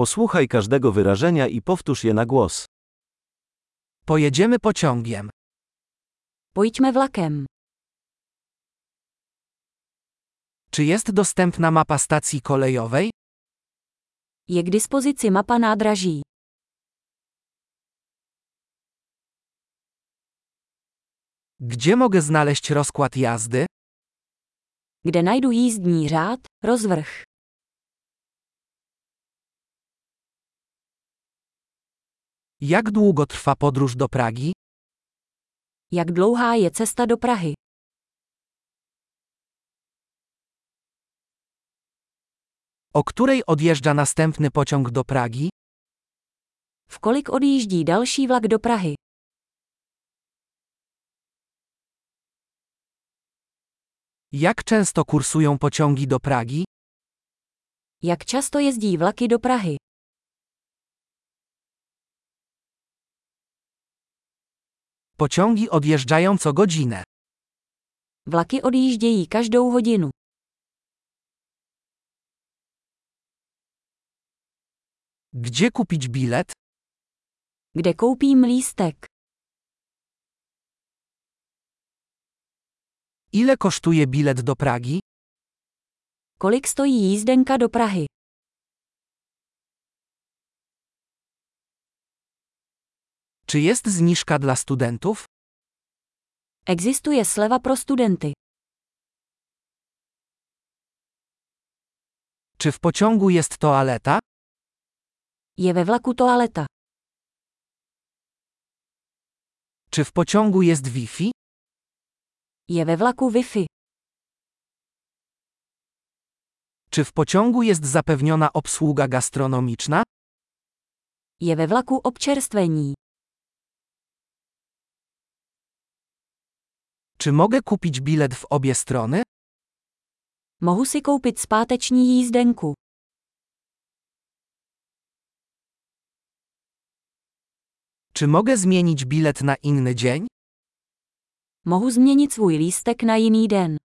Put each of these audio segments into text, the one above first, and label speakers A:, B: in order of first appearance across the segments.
A: Posłuchaj każdego wyrażenia i powtórz je na głos.
B: Pojedziemy pociągiem.
C: Pojďme vlakem.
B: Czy jest dostępna mapa stacji kolejowej?
C: Je k dispozici mapa nádraží.
B: Gdzie mogę znaleźć rozkład jazdy?
C: Kde najdu jízdní řád, rozvrh.
B: Jak długo trwa podróż do Pragi?
C: Jak dlouhá je cesta do Prahy?
B: O której odjeżdża następny pociąg do Pragi?
C: V kolik odjíždí další vlak do Prahy?
B: Jak często kursują pociągi do Pragi?
C: Jak často jezdí vlaky do Prahy?
B: Pociągi odjeżdżają co godzinę.
C: Vlaky odjíždějí každou hodinu.
B: Gdzie kupić bilet?
C: Kde koupím lístek?
B: Ile kosztuje bilet do Pragi?
C: Kolik stojí jízdenka do Prahy?
B: Czy jest zniżka dla studentów?
C: Existuje sleva pro studenty.
B: Czy w pociągu jest toaleta?
C: Je ve vlaku toaleta.
B: Czy w pociągu jest Wi-Fi?
C: Je ve vlaku Wi-Fi.
B: Czy w pociągu jest zapewniona obsługa gastronomiczna?
C: Je ve vlaku občerstvení.
B: Czy mogę kupić bilet w obie strony?
C: Mohu si koupit zpáteční jízdenku.
B: Czy mogę zmienić bilet na inny dzień?
C: Mohu změnit svůj lístek na jiný den.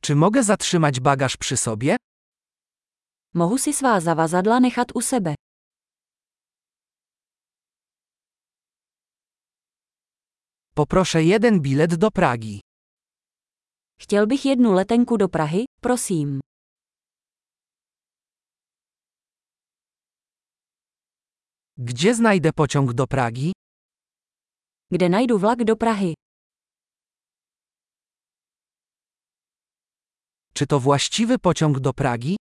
B: Czy mogę zatrzymać bagaż przy sobie?
C: Mohu si svá zavazadla nechat u sebe.
B: Poproszę jeden bilet do Pragi.
C: Chtěl bych jednu letenku do Prahy, prosím.
B: Gdzie znajdę pociąg do Pragi?
C: Kde najdu vlak do Prahy?
B: Czy to właściwy pociąg do Pragi?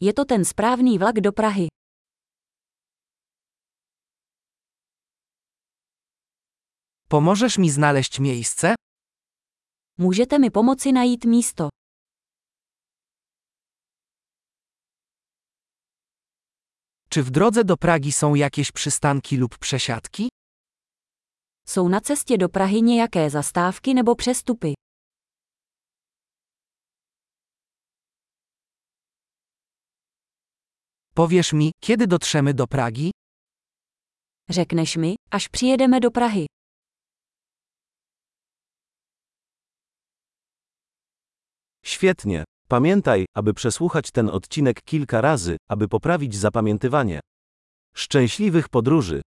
C: Je to ten správný vlak do Prahy.
B: Pomożesz mi znaleźć miejsce?
C: Můžete mi pomoci najít místo.
B: Czy w drodze do Pragi są jakieś przystanki lub przesiadki?
C: Jsou na cestě do Prahy nějaké zastávky nebo přestupy?
B: Powiesz mi, kiedy dotrzemy do Pragi?
C: Řekneš mi, až přijedeme do Prahy.
A: Świetnie. Pamiętaj, aby przesłuchać ten odcinek kilka razy, aby poprawić zapamiętywanie. Szczęśliwych podróży!